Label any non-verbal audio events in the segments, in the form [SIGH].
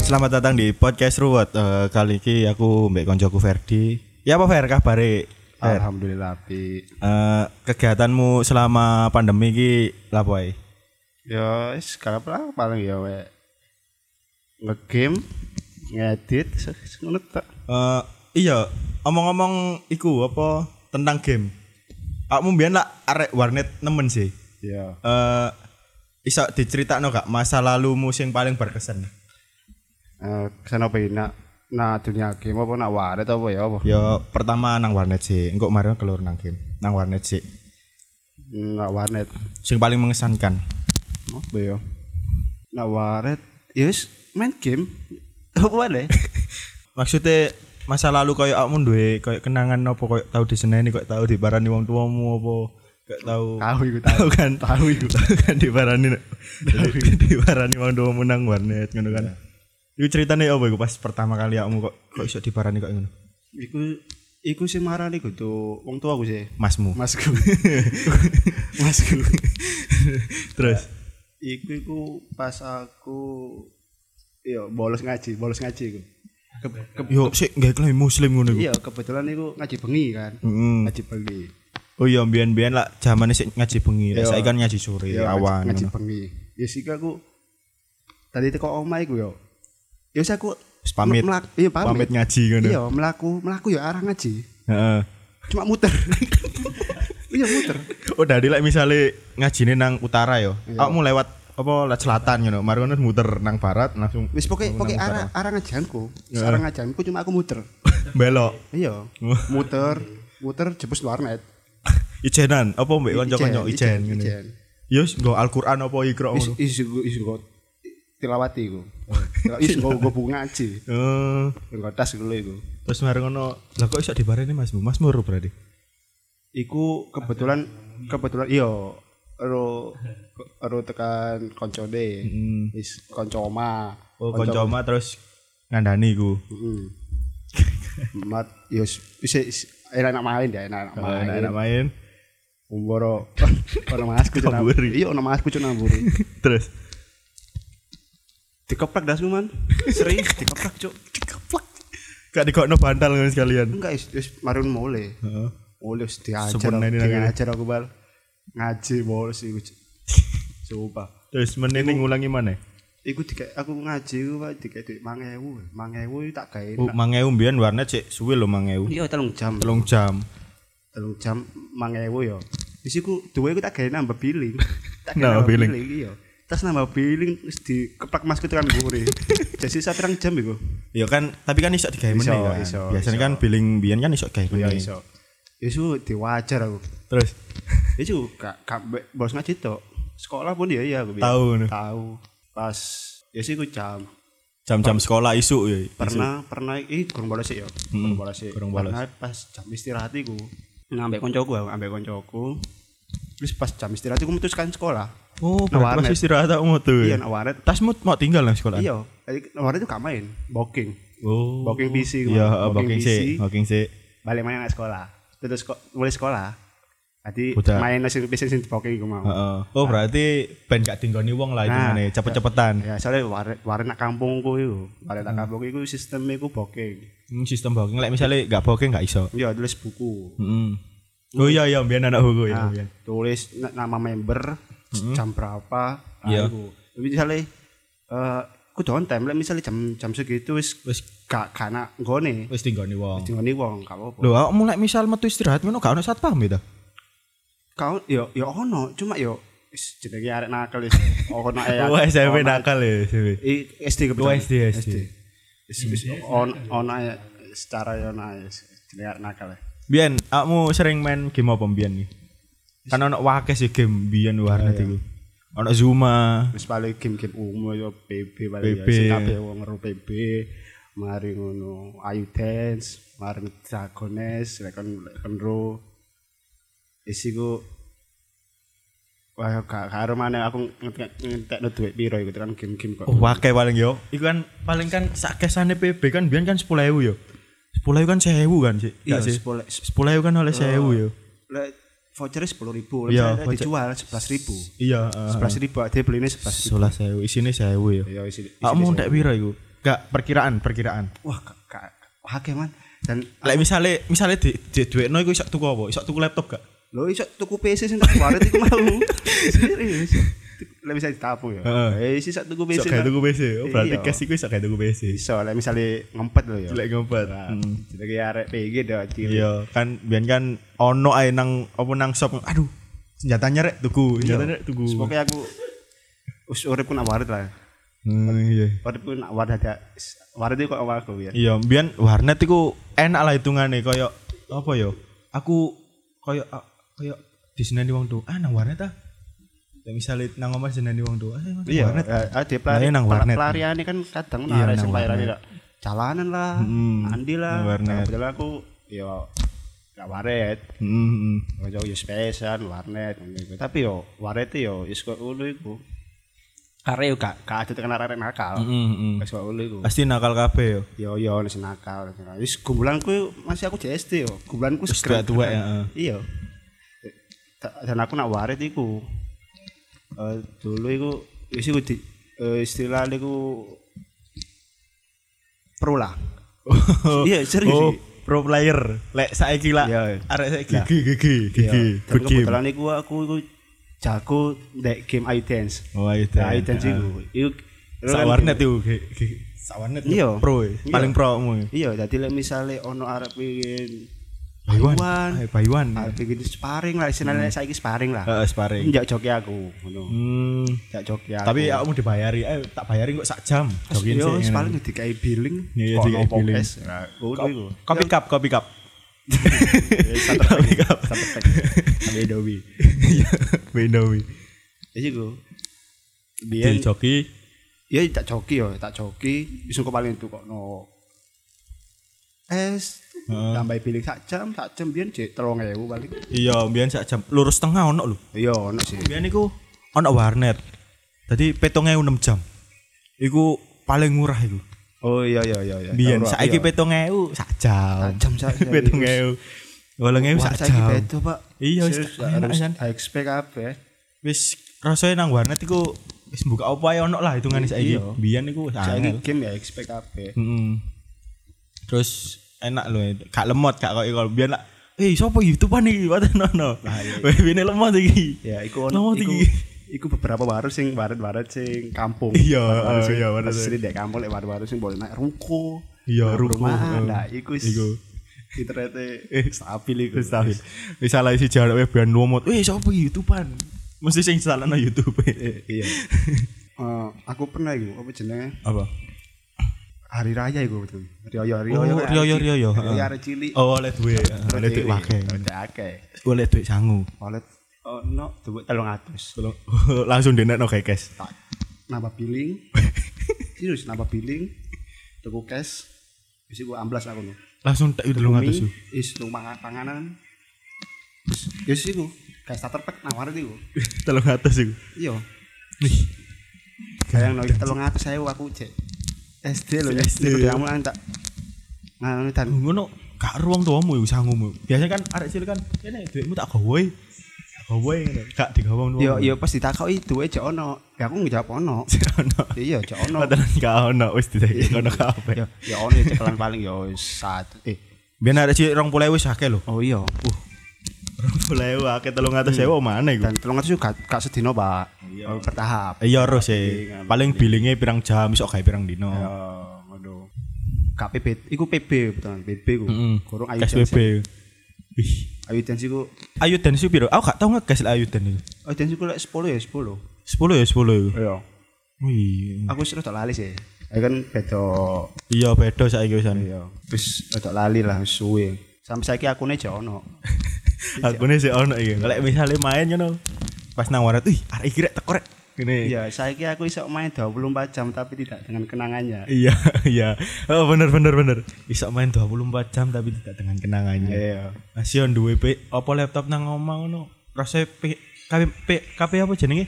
selamat datang di podcast Ruwet. Eh, kali ini aku mbek koncoku Ferdi. Ya apa Fer kabare? Fer, Alhamdulillah api. eh, kegiatanmu selama pandemi iki lapo ae? Ya wis gak apa paling ya wek. Nge-game, ngedit se- se- ngono tok. Eh, iya, omong-omong iku apa tentang game. Aku mbiyen lah arek warnet nemen sih. Ya. Eh iso diceritakno gak masa lalumu sing paling berkesan? Eh kesana apa ini? nak nah dunia game apa nak waret apa ya apa? Ya pertama nang warnet sih, engko kemarin keluar nang game, nang warnet sih. Nak waret. Sing paling mengesankan. Apa ya? Nak waret. Ya wis main game. [LAUGHS] Apa wae? Maksudnya masa lalu koyo awakmu duwe koyo kenangan apa koyo tau diseneni koyo tau dibarani wong tuamu apa koyo tau Tahu iku [LAUGHS] tau tahu. kan [LAUGHS] tau iku kan dibarani [LAUGHS] Jadi, dibarani wong tuamu nang warnet ngono kan. Iku ceritane apa iku pas pertama kali awakmu kok kok iso dibarani kok ngono? Iku iku sing marani kudu wong tua aku sih. Masmu. Masku. [LAUGHS] Masku. Terus Iku iku pas aku yo bolos ngaji, bolos ngaji iku. Ke- ke- yo sik nggae klaim muslim ngono iku. iya kebetulan iku ngaji bengi kan. Mm-mm. Ngaji bengi. Oh iya mbiyen-mbiyen lah zamane sik ngaji bengi, lah Iya. saiki kan ngaji sore Iya, awan. ngaji ngono. bengi. Ya sik aku tadi teko omah iku yo. Ya wis aku Wis pamit. melak- iya Pamit pamit. ngaji ngono. Iya, melaku, melaku yo arah ngaji. Heeh. Cuma muter. [LAUGHS] iya muter. Oh dari like misalnya ngajine nang utara yo. Aku mau lewat apa lewat selatan ngono. Mari ngono muter nang barat langsung [LAUGHS] Wis pokoke pokoke Nang arah arah ngajianku. Arah ngajianku cuma aku muter. belok. [LAUGHS] Iya. muter, muter jebus warnet. Ijenan apa mbek kanca-kanca ijen ijen, ngono. ijen. Yus nggo Al-Qur'an apa Iqra Is ngono. is go is go tilawati iku. Is go go bunga ngaji. Eh, Nggo tas dulu iku. terus mari ngono. Lah kok iso dibareni Mas? Mas muru berarti. Iku kebetulan kebetulan iya ero ero tekan koncone. Is konco oma. Oh kanca omah terus ngandani iku. Heeh. Mm-hmm. Mat yo is is- enak main ya, enak main. Enak main. [LAUGHS] Umboro ono masku cuma. Kaburi. Iya ono masku cuma buri. Terus Dikeprak dasku man. Serius dikeprak cuk. Dikeprak. gak digokno bantal ngono sekalian. Enggak is is marun mule. Heeh. Oleh wis diajar, Sempurna ini lagi. diajar aku bal ngaji bolos iku. Cuk. Coba. Terus menene ngulangi maneh. Iku dikek aku ngaji iku Pak dikek duit 1000. 1000 tak gawe. Oh, 1000 mbiyen warnet sik suwe lho 1000. Iya 3 jam. 3 Telung jam. jam 1000 yo. Wis iku duwe iku tak gawe nambah billing. Tak Nambah billing. iya. Terus nambah billing wis dikeplak masku tekan gure. e. Jadi sisa pirang jam iku. Ya kan, tapi kan iso digawe meneh Iso, kan. iso, Biasanya iso. kan billing biyen kan iso digawe meneh. iso. Isu Hmm. diwajar aku. Terus Isu gak gak mbek bos ngaji tok. Sekolah pun ya iya aku. bilang. Tahu, no. Tahu. Pas ya sih aku jam jam-jam sekolah isuk ya. pernah pernah eh kurang bolos sih ya kurang bolos Hmm, sih kurang bolos. Pernah pas jam istirahat iku nah ambek koncoku aku ambek koncoku terus pas jam istirahat iku memutuskan sekolah Oh, Nah, berarti warnet. pas istirahat aku mau tuh. iya nak waret Tasmu mau tinggal nang sekolah. iya eh, waret itu gak main booking Oh. booking PC Iya, kemarin. booking sih, booking sih. balik main anak sekolah terus kok mulai sekolah jadi Udah. main nasi PC sing booking iku mau Heeh. Oh, berarti ben gak tinggoni wong lah itu Nah. meneh, cepet-cepetan. ya soalnya waret waret nak kampungku iku waret nak kampungku iku sistemnya iku booking Hmm, sistem booking lek misalnya gak booking gak iso. iya tulis buku Heeh. Oh iya iya biyen anak hugo ya. Hmm. Nah, biyen. tulis na- nama member jam berapa nah, Iya. iku. tapi misalnya eh kudu on time lah misalnya jam jam segitu wis Wis gak kana nggone wis tinggoni wong. nggone wong gak apa-apa Lho, aku mulai misal metu istirahat ngono gak ono satpam ya ta? kau yo yo ono cuma yo wis jenenge arek [LAUGHS] nakal wis ono ae Oh, SMP nakal ya, SMP. I- SD Oh, kebetulan SD. Wis- wis Mm-hmm. on ono ae secara yo ono ae wis jenenge arek nakal ya. Bian, kamu sering main game apa Bian nih? Kan ono wakil sih game Bian warnet itu. Ono Zuma. wis paling game-game umum yo PB paling PB. ya sing kabeh wong ngeru PB mari ngono Ayu Dance mari Dragones rekon rekon ro isi ku wah gak karo mana aku ngetek ngetek no duit piro iku kan game-game kok Oh, wakil paling yo. Iku kan paling kan sak kesane PB kan Bian kan 10.000 yo. 10.000 kan 1.000 kan sih. Iya, sih. 10 10.000 kan oleh 1.000 yo. lek voucher 10.000 ribu Iya, misalnya voucher. dijual 11.000 Iya, 11.000 dia belinya 11.000 11.000 Iya, isine 1.000 yo. ya isi Kamu ndak piro iku? Gak perkiraan, perkiraan. Wah, kak, kak, akeh man. Dan Lek misale misale di di duitno iku iso tuku apa? Iso tuku laptop gak? lo iso tuku PC sing tak waret iku mau. Serius. Lah bisa ditapu ya. Heeh. Eh, iso tuku Iso PC. kayak Pak. tuku PC. Oh, berarti Iya. cash iku iso kayak tuku PC. Iso lah misalnya ngempet lo ya. Lek ngompet. Hmm. Jadi kayak arek PG dah cilik. Iya, kan biyen kan ono ae nang apa nang shop. Aduh, senjatanya rek tuku, iya. senjatanya rek tuku. Pokoknya aku us urip pun waret lah. Hmm, iya. Urip pun waret ada waret itu kok awal aku ya. Iya, mbiyen warnet iku enak lah hitungane koyo apa yo? Aku koyo a- koyo diseneni wong tuwa. Ah, nang warnet ah. Ya misale nang omah diseneni wong tuwa. Ah, nang Iya, warnet. eh, ada Nah, ini nang warnet. pelarian kan kadang Iya, ada nang yang pelarian tidak jalanan lah, Mm-mm. mandi lah. Nang warnet. Nah, Padahal aku ya gak waret, Heeh, heeh. ojo yo spesan ya warnet ngono iku. Tapi yo waret yo isko ulu iku. Karena yo gak gak ada tekan arek nakal. Heeh, heeh. Isko ulu iku. Pasti nakal kabeh yo. Yo yo nek nakal. Wis gumbulanku masih aku JST yo. Gumbulanku Wis seger. gak tuwek, heeh. Iya. Ta- Dan aku nak warit iku. Eh dulu iku wis iku di eh, istilah niku pro lah. Iya, serius Oh, sih. pro player. Lek saiki lah. Iya. Arek saiki gigi gigi gigi. Tapi Iya. kebetulan iku aku iku jago ndek game iDance. Oh, itu. Nah, iDance iku. Iku Sak warnet iku gi- gi- sak warnet iku Iya. pro. eh. Iya. Paling pro mu. Iya, dadi lek misale ono arep pingin Bayuan. Bayuan. arep pingin sparring lah, istilahnya saiki sparring lah. Heeh, Hmm. sparring. Njak joki aku ngono. Hmm. Njak joki aku. Tapi aku mau dibayari, eh tak bayarin kok sak jam. Jokin Yo, sih, paling dikai billing. Iya, iya, Kono dikai pokes. billing. Nah, ngono Ko- [LAUGHS] iku. Iya, Kopi cup, kopi cup. Kopi kap. Sampai [LAUGHS] dobi. Iya. Windowi. Iya, Jadi gue. Di Biar joki. ya tak coki yo, tak coki. Bisa kok paling itu kok no. Es Heeh. tambah billing sak jam, sak jam biar cek terong ya paling. Iya, mbiyen sak jam lurus tengah ono lho. Iya, ono sih. Mbiyen iku ono warnet. Jadi 7.006 jam. Iku paling murah iku. Oh iya iya iya iya. Mbiyen Tau, saiki iya. 7.000 sak jam. Sak jam, sak [LAUGHS] jam. 7.000. 8.000 Wah, sak saiki jam. bedo, Pak. Iya, wis Serius, tak- harus enak, AXP kabeh. Wis rasane nang warnet iku wis buka opo ae ono lah hitungane saiki. Iya. Mbiyen iku Saiki angel. game ya AXP kabeh. Mm-mm. Terus enak loh, gak lemot gak kok kalau biar lah. Eh, siapa youtuber nih? Wadah nono. Wih, ini lemot lagi. Ya, iku Lama ono iku tinggi. iku beberapa baru sing barat-barat sing kampung. Iya, Baru-baru eh, sing- iya, baru-baru. Asli dek kampung lek baru-baru sing boleh naik ruko. Iya, naik ruko, perumahan. eh. Nah, Iku. iku Eh. iku internete stabil iku. Stabil. Misalnya si jarak web biar nomot. Eh, siapa youtuber? Mesti sing salah no YouTube. Iya. Eh, aku pernah iku apa jenenge? Apa? Hari raya iku betul. Rioyo Oh, rioyo. Rio Rio Rio. Hari arek cilik. Oh, oleh duit, oleh duit cilik. wakil, Oleh akeh. oleh duit sangu. Oleh Oh, ono dhuwit 300. [LAUGHS] Langsung denek no kayak cash. Tak nambah [LAUGHS] billing. Serius nambah billing. Tuku cash. Wis iku amblas aku no. Langsung tak dulu Mie, ngatus. is rumah panganan terus ya sih gua kayak starter pack nawarin itu [LAUGHS] Telung ngatus iku. iya Wih, kayak noy telung atus saya aku cek SD loh ya SD. SD kamu tak nah dan ngono gak ruang tuamu ya, iku sangumu. Biasanya kan arek cilik kan kene duitmu tak gawe. Tak gawe ngono. Gak digawang tuamu. [LAUGHS] yo yo pasti tak kau itu aja ono ya aku ngejawab ono ono. iya cek ono Padahal gak ono wis ditek kono kabeh. ya ya ono ya cekelan paling ya satu eh Biyen arek cilik 20.000 wis akeh lho. oh iya uh 20.000 akeh 300.000 mana iku? dan telung atus juga gak sedino pak Oh, bertahap Iya harus sih. Paling billingnya pirang jam iso gawe pirang dino. ya waduh KPB, iku PB betul PB ku. Heeh. Kurung ayu Cash Jansi. BB. Ih, Ayu Jansi ku ayu dan si piro? Aku gak tau ngegas lah ayu dan iku. Oh, dan iku lek 10 ya 10 10. ya 10 iku. Iya. Wih. Aku sih rodok lali sih. Aku kan beda Iya beda saiki wisan. iya, wis rodok lali lah wis suwe. Sampai saiki akune jek ono. [LAUGHS] Akune sih ono iya. iki. Lek misale main ngono. Pas nang warat, ih arek iki rek teko rek. Ngene. Iya, saiki aku iso main 24 jam tapi tidak dengan kenangannya. Iya, [LAUGHS] iya. Oh, bener bener bener. Iso main 24 jam tapi tidak dengan kenangannya. Iya. Masih on duwe P, apa laptop nang omah ngono. Rasane P KP P- KP apa jenenge?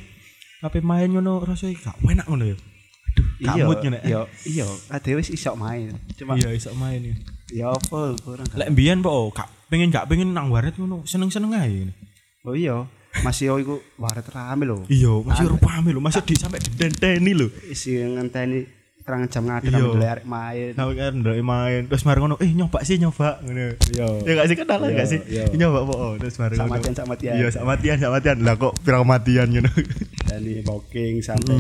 KP main ngono rasane gak enak ngono ya. Aduh, Iya, kamut ngono. iya, iya, ade wis iso main. Cuma Iya, iso main ya. ya apa kurang. Lek mbiyen po, gak pengen gak pengen nang waret ngono, seneng-seneng ae. Oh iya, masih yo iku waret rame lho. Iya, masih rupame lho, masih di sampai didenteni lho. Isi ngenteni terang jam ngadeg Iya. sampe dulu arek main. Nah, kan ndelok main terus mari ngono, eh nyoba sih nyoba ngono. Yo. Ya gak sih kenal Iya, gak sih? iya. Nyoba po terus mari Sak ngono. matian, sak matian. Iya, sak matian, sak matian. Lah kok pirang matian ngono. Dari booking sampai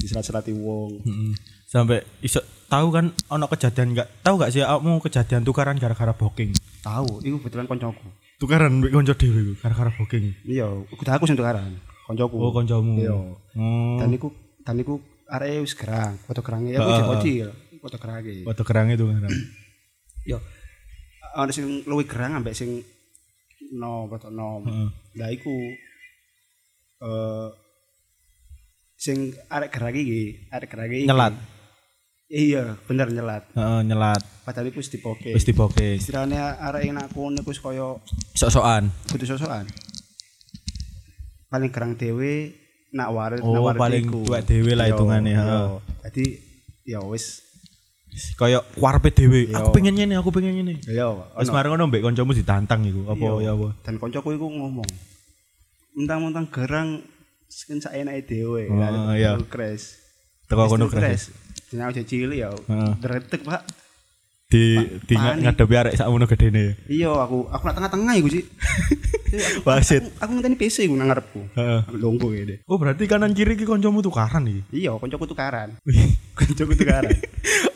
diserat-serati wong. Mm-mm. Hmm. Sampai iso tahu kan ono kejadian gak? Tahu gak sih kamu kejadian tukaran gara-gara booking? Tahu, iku kebetulan koncoku. Tukaran mbek kanca dhewe iku, gara-gara booking. Iya, kudu aku sing tukaran. Koncoku. Oh, kancamu. Iya. Oh. Dan iku dan iku arek wis gerang, foto gerange aku Ah, jek ah, ah. kocil, foto gerange. Waktu kerang itu kan. Yo. Ana sing luwih gerang ambek sing no foto no. Heeh. Lah iku eh sing arek gerang iki, arek gerang iki. Nyelat. Iya, bener nyelat. Heeh, nyelat. Padahal iku wis dipoke. Wis dibooking. Istilahnya arek yang aku niku wis koyo Sok-sokan. kudu sosokan. Paling gerang dhewe nak warit Oh, paling tuwek dhewe Iya. lah hitungannya, ha. Jadi ya wis Kayak kuarpe dhewe. Iya. Aku pengen ngene, aku pengen ngene. ya Oh, Wis mari ngono mbek kancamu ditantang iku. Apa ya apa? dan koncoku iku ngomong. Mentang-mentang gerang sing sak enake dhewe. Oh, Lah, iya. aku Crash. Teko Wis kono terus keras. crash. Jeneng aku cilik ya. Heeh. Dretek, Pak. Di di panik. ngadepi arek sakmono gedene. Iya, aku aku nak tengah-tengah iku [LAUGHS] sih. Wasit. Aku- Aku ngenteni PC iku nang ngarepku. Heeh. Aku Longgo ngene. Oh, berarti kanan kiri iki kancamu tukaran [LAUGHS] iki. Iya, koncoku tukaran. [LAUGHS] koncoku tukaran.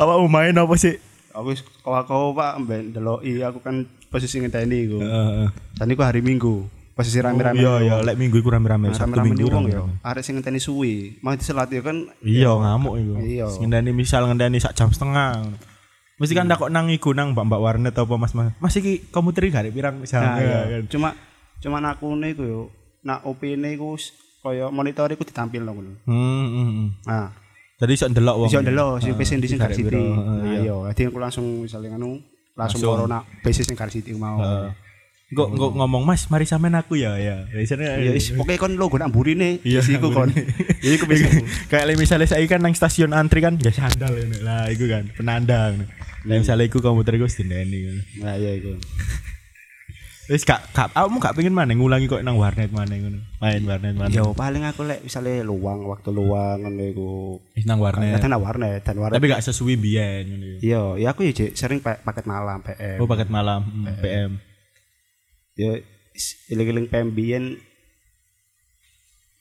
apa mau main apa sih? aku wis kau Pak mbek ndeloki aku kan posisi ngenteni iku. Heeh. Dan iku hari Minggu. Posisi rame-rame. Iya ya, lek minggu iku rame-rame, Sabtu rame-rame minggu ni wong rame. ya. Arek sing ngenteni suwi, mau diselat ya kan Iya, ngamuk iku. Iya. Ngendani misal ngendani sak jam setengah. Mesti kan takok nang iku nang mbak-mbak warnet apa mas-mas. Mas iki komputer gak ada pirang Nah, misalnya iya. kan. Cuma cuma aku niku yo, nak opine iku wis kaya monitor iku ditampil ngono. Hmm, hmm, hmm. Nah, Jadi iso ndelok wong. iso ndelok si PC di sing Garek Car City. piro, Nah, iya, dadi aku langsung misalnya ngono, Langsung. langsung loro nak PC sing Car City mau. Engko engko ngomong Mas, mari sampean aku ya ya. Biasanya Ya wis pokoke kon logo nak mburine di siku kon. [LAUGHS] Ya iku bisa. kayak like, misalnya saya kan nang stasiun antri kan ya sandal ini lah itu kan penanda ini. Lah misalnya iku komputer iku sendiri Nah, iya iku. Terus kak, kak, kamu gak pengen mana ngulangi kok nang warnet mana ngono? Main warnet mana? Yo paling aku lek misalnya luang waktu luang ngono iku. Wis nang warnet. Kadang nak warnet dan warnet. Tapi gak sesuai biyen ngono ya. Iya, ya aku ya Jek, sering pa- paket malam PM. Oh paket malam hmm, PM. ya is- iling-iling PM biyen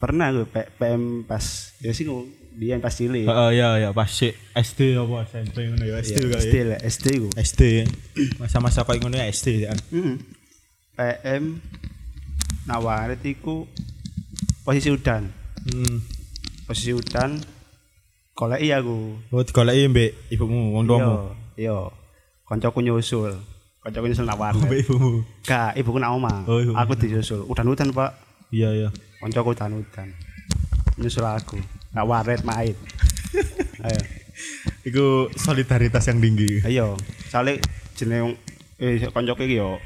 pernah gue P- PM pas ya sih gue biyen pas cilik Heeh ya ya pas sik SD apa SMP ngono ya SD kali. Ya, SD ya. lah SD gue SD. Masa-masa kayak ngono ya SD kan. Mm-mm. PM nawarit iku posisi udan Hmm. posisi udan golek iya gue Oh digoleki mbek ibumu wong tuamu. yo yo koncoku nyusul koncoku nyusul nawarit Mbek ibumu. Gak, ibuku nak omah. Oh, ibuku. aku disusul. Udan-udan, Pak. Iya iya. Koncoku udan-udan. Nyusul aku. Nak waret [LAUGHS] main. Ayo. Iku solidaritas yang tinggi. Ayo, sale Iya. jeneng eh kancaku iki yo.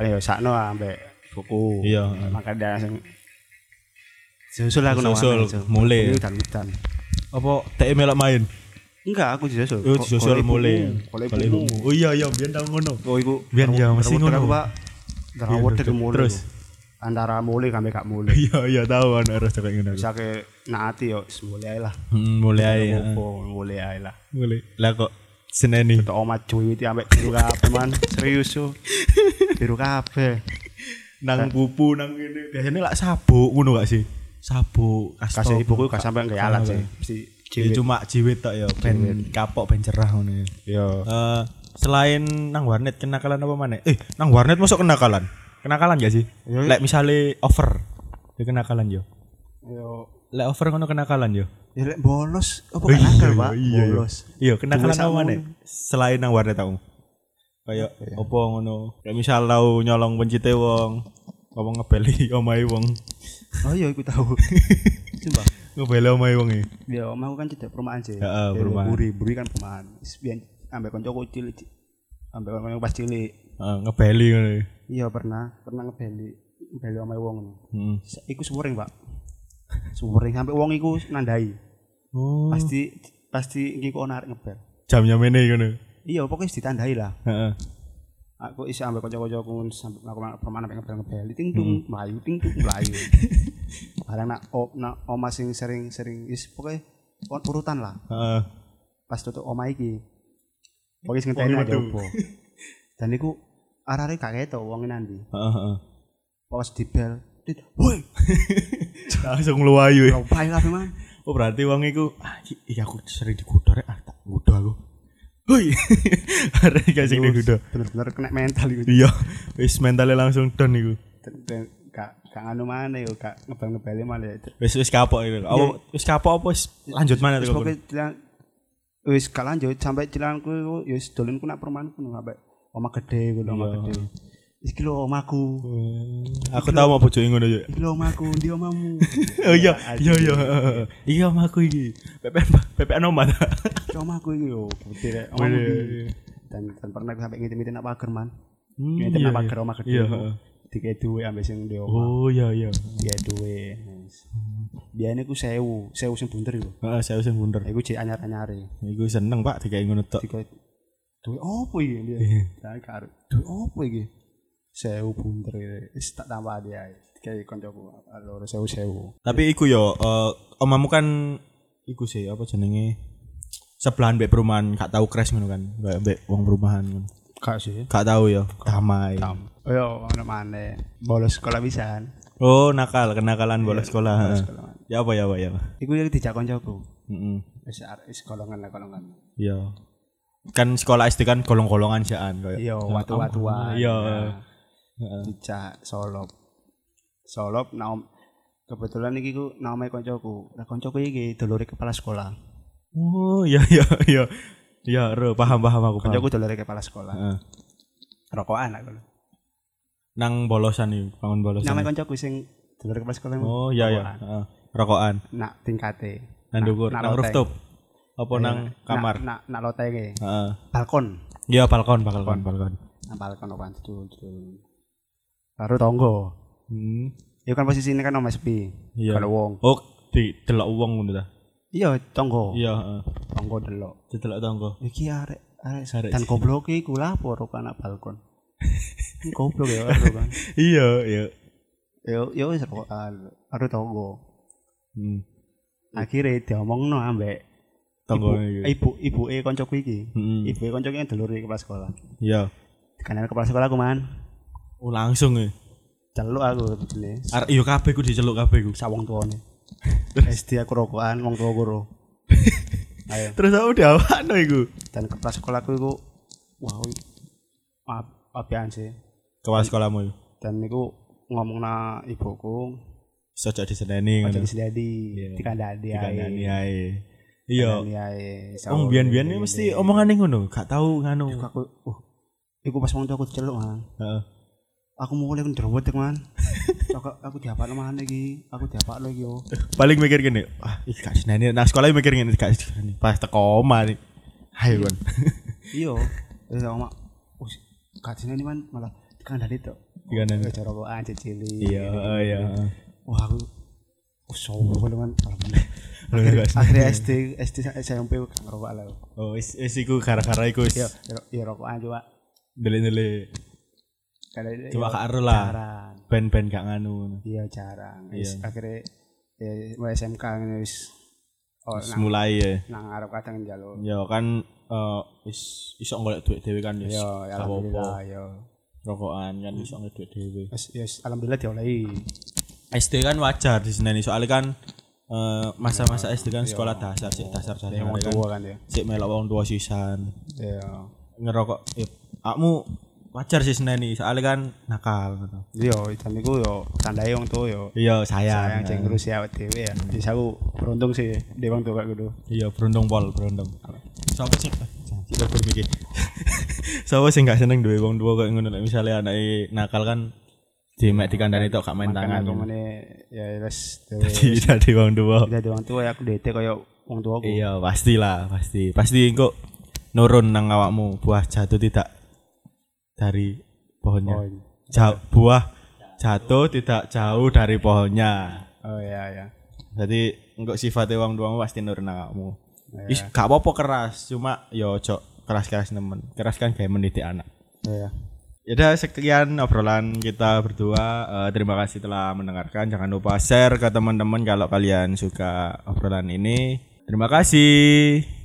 Ayo sakno ah, ambek buku. Iya. Makanya sing disusul aku nang Disusul, warnet, Cuk. mulai. Ini udan-udan. Apa TE melok main? Enggak, aku disusul. Oh Ko- disusul kolek mulai. buku, kolek Kolek buku. ibumu. Oh iya iya biyen tau ngono. Oh iku. Biyen ya, mesti Rewet aku, ngono. Pak. Biyen Terawet rewet. mulai. Terus? Terus antara mulai sampai gak mulai. [LAUGHS] Iya iya tahu kan harus kayak ngono. bisa ke naati yo wis mulai ae lah Hmm, mulai. ya. opo mulai ae lah Mulai. Lah kok seneni. tok omat cuwiti ambek biru kabeh man serius yo biru kabeh nang pupu nang ngene biasanya lak sabuk ngono gak sih sabuk kasih tau. ibuku gak sampe nggak Ah, alat sih mesti Ya, ciwit cuma jiwit tok ya ben kapok ben cerah ngono ya yo Eh, selain nang warnet kenakalan apa mana eh nang warnet masuk kenakalan kenakalan gak sih Iya, iya. lek misale over ya kenakalan yo yo lek over ngono kenakalan yo ya lek bolos apa kan nakal pak iya, iya. bolos iya kenakalan Duwe apa sakmu. mana selain nang warnet aku kayak opo ngono kayak misal tau nyolong pencite wong apa ngebeli [LAUGHS] omahe wong oh iya iku [LAUGHS] tahu sumpah ngebeli omahe wong iki yo omahku kan cedek perumahan sih Heeh, Yo, perumahan. buri buri kan perumahan Wis biyen ambek kancaku cilik Ci. ambek kancaku pas cilik Eh, ngebeli ngono ya. iya pernah pernah ngebeli ngebeli omahe wong ngono. Hmm. Sa- iku suwering pak suwering sampai wong iku nandai Oh. pasti pasti iki kok narik ngebel Jamnya mene ngono. iya pokoknya ditandai lah Heeh. aku isi ambek kanca-kanca aku sampai aku malah permanen ambek ngebel ngebel ting Hmm. tung melayu ting tung [LAUGHS] melayu barang nak op nak oma sing sering sering is pokoknya pon- urutan lah Heeh. pas tutup omah iki. Pokoke sing ngenteni Wonge ada metu. opo. Dan iku arare gak ketok wong nanti. Heeh, heeh. Pas dibel, tit, "Woi, [LAUGHS] Langsung ya. ngluwayu. lo payu kabeh man." Oh berarti wong iku ah Eh. iki iki aku sering digudor ah tak gudo aku. Hoi. [LAUGHS] Arek gak sing digudor. Bener-bener kena mental iku. Iya, wis mentale langsung down iku. Dan- dan Gak gak anu mana yo, gak ngebel-ngebeli malah. Wis wis kapok iku. Apa Iya. wis kapok apa wis lanjut mana Terus tuh? pokoknya cilan wis kalah lanjut sampai cilanku iku ya wis dolenku nak perumahan ku sampai omah gede ku lho, omah Iya. gede. Iki lho omahku. Hmm, Aku tau mau bojoke ngono yo. Iki lho omahku, ndi omahmu? Iya. [LAUGHS] Oh iya, iya iya. Iya om aku iki. Pepen pepen omah. [LAUGHS] ta? Iki omahku iki lho, putih rek. Omahmu Boleh, ndi? iya. Dan dan pernah aku sampai ngiti-ngiti nak pagar man. Hmm, Ngiti iya, nak iya. pagar omah gede. Iya, ku. heeh. Dikei duwe ambek sing ndi omah. Oh iya iya. Dikei duwe. Yes. Hmm. Biayane ku 1000, 1000 sing bunder iku. Heeh, saya sing bunder. Iku jek anyar-anyare. Iku seneng Pak dikai ngono tok. Dikei duwe opo iki? Dia. Iya. Saya karo duwe opo iki? Sewu bunder iki. Wis tak tambah dia. Kayak koncoku loro sewu sewu. Tapi iku yo eh, omamu kan iku sih apa jenenge sebelahan mbek perumahan gak tahu crash ngono kan. Kayak mbek wong perumahan ngono. Kak sih. Gak tahu yo. Damai. Ayo ono maneh. Bolos sekolah pisan. Oh, nakal, kenakalan Iya, bolos sekolah. heeh. sekolah, man. Ya apa ya apa ya. apa. Iku yang dijak koncoku. Heeh. Wis arek- wis golongan lah golongan. Iya. Kan sekolah SD kan golong-golongan sian kayak. Iya, watu-watuan. Iya. Nah, Dijak solop. Solop naom kebetulan iki ku namanya koncoku. Lah koncoku iki dolore kepala sekolah. Oh, iya iya iya. Iya, ro, paham paham aku paham. Koncoku dolore kepala sekolah. Heeh. Rokokan lah kalau. Nang bolosan iki, bangun bolosan. Namanya koncoku sing dolore kepala sekolah. Oh, iya iya. Heeh. Rokokan. Nak tingkate. Nang dhuwur, nang loteng. rooftop. Apa nang kamar? Nak nak lotenge. Heeh. Balkon. Ya balkon, balkon, balkon. Nang balkon opan dul dul. Baru tonggo. Hmm. Ya kan posisi ini kan omah sepi. Iya. Kalau wong. Oh, di delok wong ngono ta. Iya, tonggo. Iya, heeh. Tonggo delok. Didelok tangga. Iki arek arek Arek dan goblok iki ku lapor kan nak balkon. Ini goblok ya aduh [LAUGHS] kan. Iya, iya. Yo yo wis rokokan. Aduh tonggo. Hmm. Akhirnya diomongno ambek Tonggo ibu iki. ibu ibuke koncoku iki. Heeh. Ibuke koncoku yang delur iki kepala sekolah. Iya. Kanan kepala sekolah aku man. Oh, langsung e. Celuk aku bejene. Arek yo kabeh ku diceluk kabeh ku. Sawong tuane. [LAUGHS] SD aku rokokan wong tuwa guru. Ayo. Terus aku diawakno iku. dan kepala sekolahku itu wow ap- apaan sih Kepala sekolahmu iku. dan itu ngomong na ibuku Sojok diseneni aja ngono. disedadi Iya. dikandani Dikandani ae ae. Iya. dikandani ae Wong biyen-biyen ini mesti omongane ngono, gak tau nganu. aku uh iku pas wong tua aku celuk man Heeh. aku mulai kan jerawat [LAUGHS] man Cok, aku diapakno mana iki aku diapakno iki yo Paling mikir gini, ah, ih gak seneni. Nah, sekolah mikir gini, gak seneni. Pas teko omah nih. Ayo [LAUGHS] kon. iya terus sama us kajian ini man malah dikandani tok Dikandani. Eh, jorok ae cilik Iya, iya. wah aku oh sombong dengan alhamdulillah [LAUGHS] Lu akhirnya, nggak akhirnya SD SD sa- SMP gak ngerokok lah Oh, is, is iku gara-gara iku ya is ya rokokan coba dele-dele Kadang- ya, Coba gak ero lah. jarang band-band gak nganu. iya jarang Iya. Wis, akhirnya ya mulai SMK ini wis oh Terus nang mulai ya. nang arep kadang njaluk Ya kan eh is iso golek duit dhewe kan is. ya Gak alhamdulillah apa-apa. ya Rokokan kan iso golek duit dhewe. wis ya wis, alhamdulillah diolehi SD kan wajar di sini soalnya kan eh, masa-masa SD kan sekolah dasar sih dasar dasar ya wong kan. Iya. tua kan ya Sik melok wong tua sisan. ya Ngerokok. Ya, akmu wajar sih seneni soalnya kan nakal gitu. iya jam iku yo tandai wong tua yo Iya sayang. sayang cek ngurus ya awake dhewe ya bisa aku beruntung sih di wong tua kayak gitu Iya, berondong pol, berondong. Sapa sih? Tidak [LAUGHS] berpikir. Sapa sih nggak seneng duwe wong tua kayak ngono lek misale anake nakal kan di mek dikandani tok gak main Makanya aku tangan. meneh ya wis [LAUGHS] Jadi dari wong tua. Udah ada orang tua ya aku dete kayak orang tua aku. Iya, pastilah, pasti. Pasti engko nurun nang awakmu buah jatuh tidak dari Oh, pohonnya. Jauh, buah jatuh tidak jauh dari pohonnya. oh ya ya. Jadi engko sifatnya wong tua pasti nurun nang awakmu. Is gak apa-apa keras, cuma yo ojo keras-keras nemen. Keras kan kayak mendidik anak. Oh, ya. Ya udah sekian obrolan kita berdua. Eh, terima kasih telah mendengarkan. Jangan lupa share ke teman-teman kalau kalian suka obrolan ini. Terima kasih.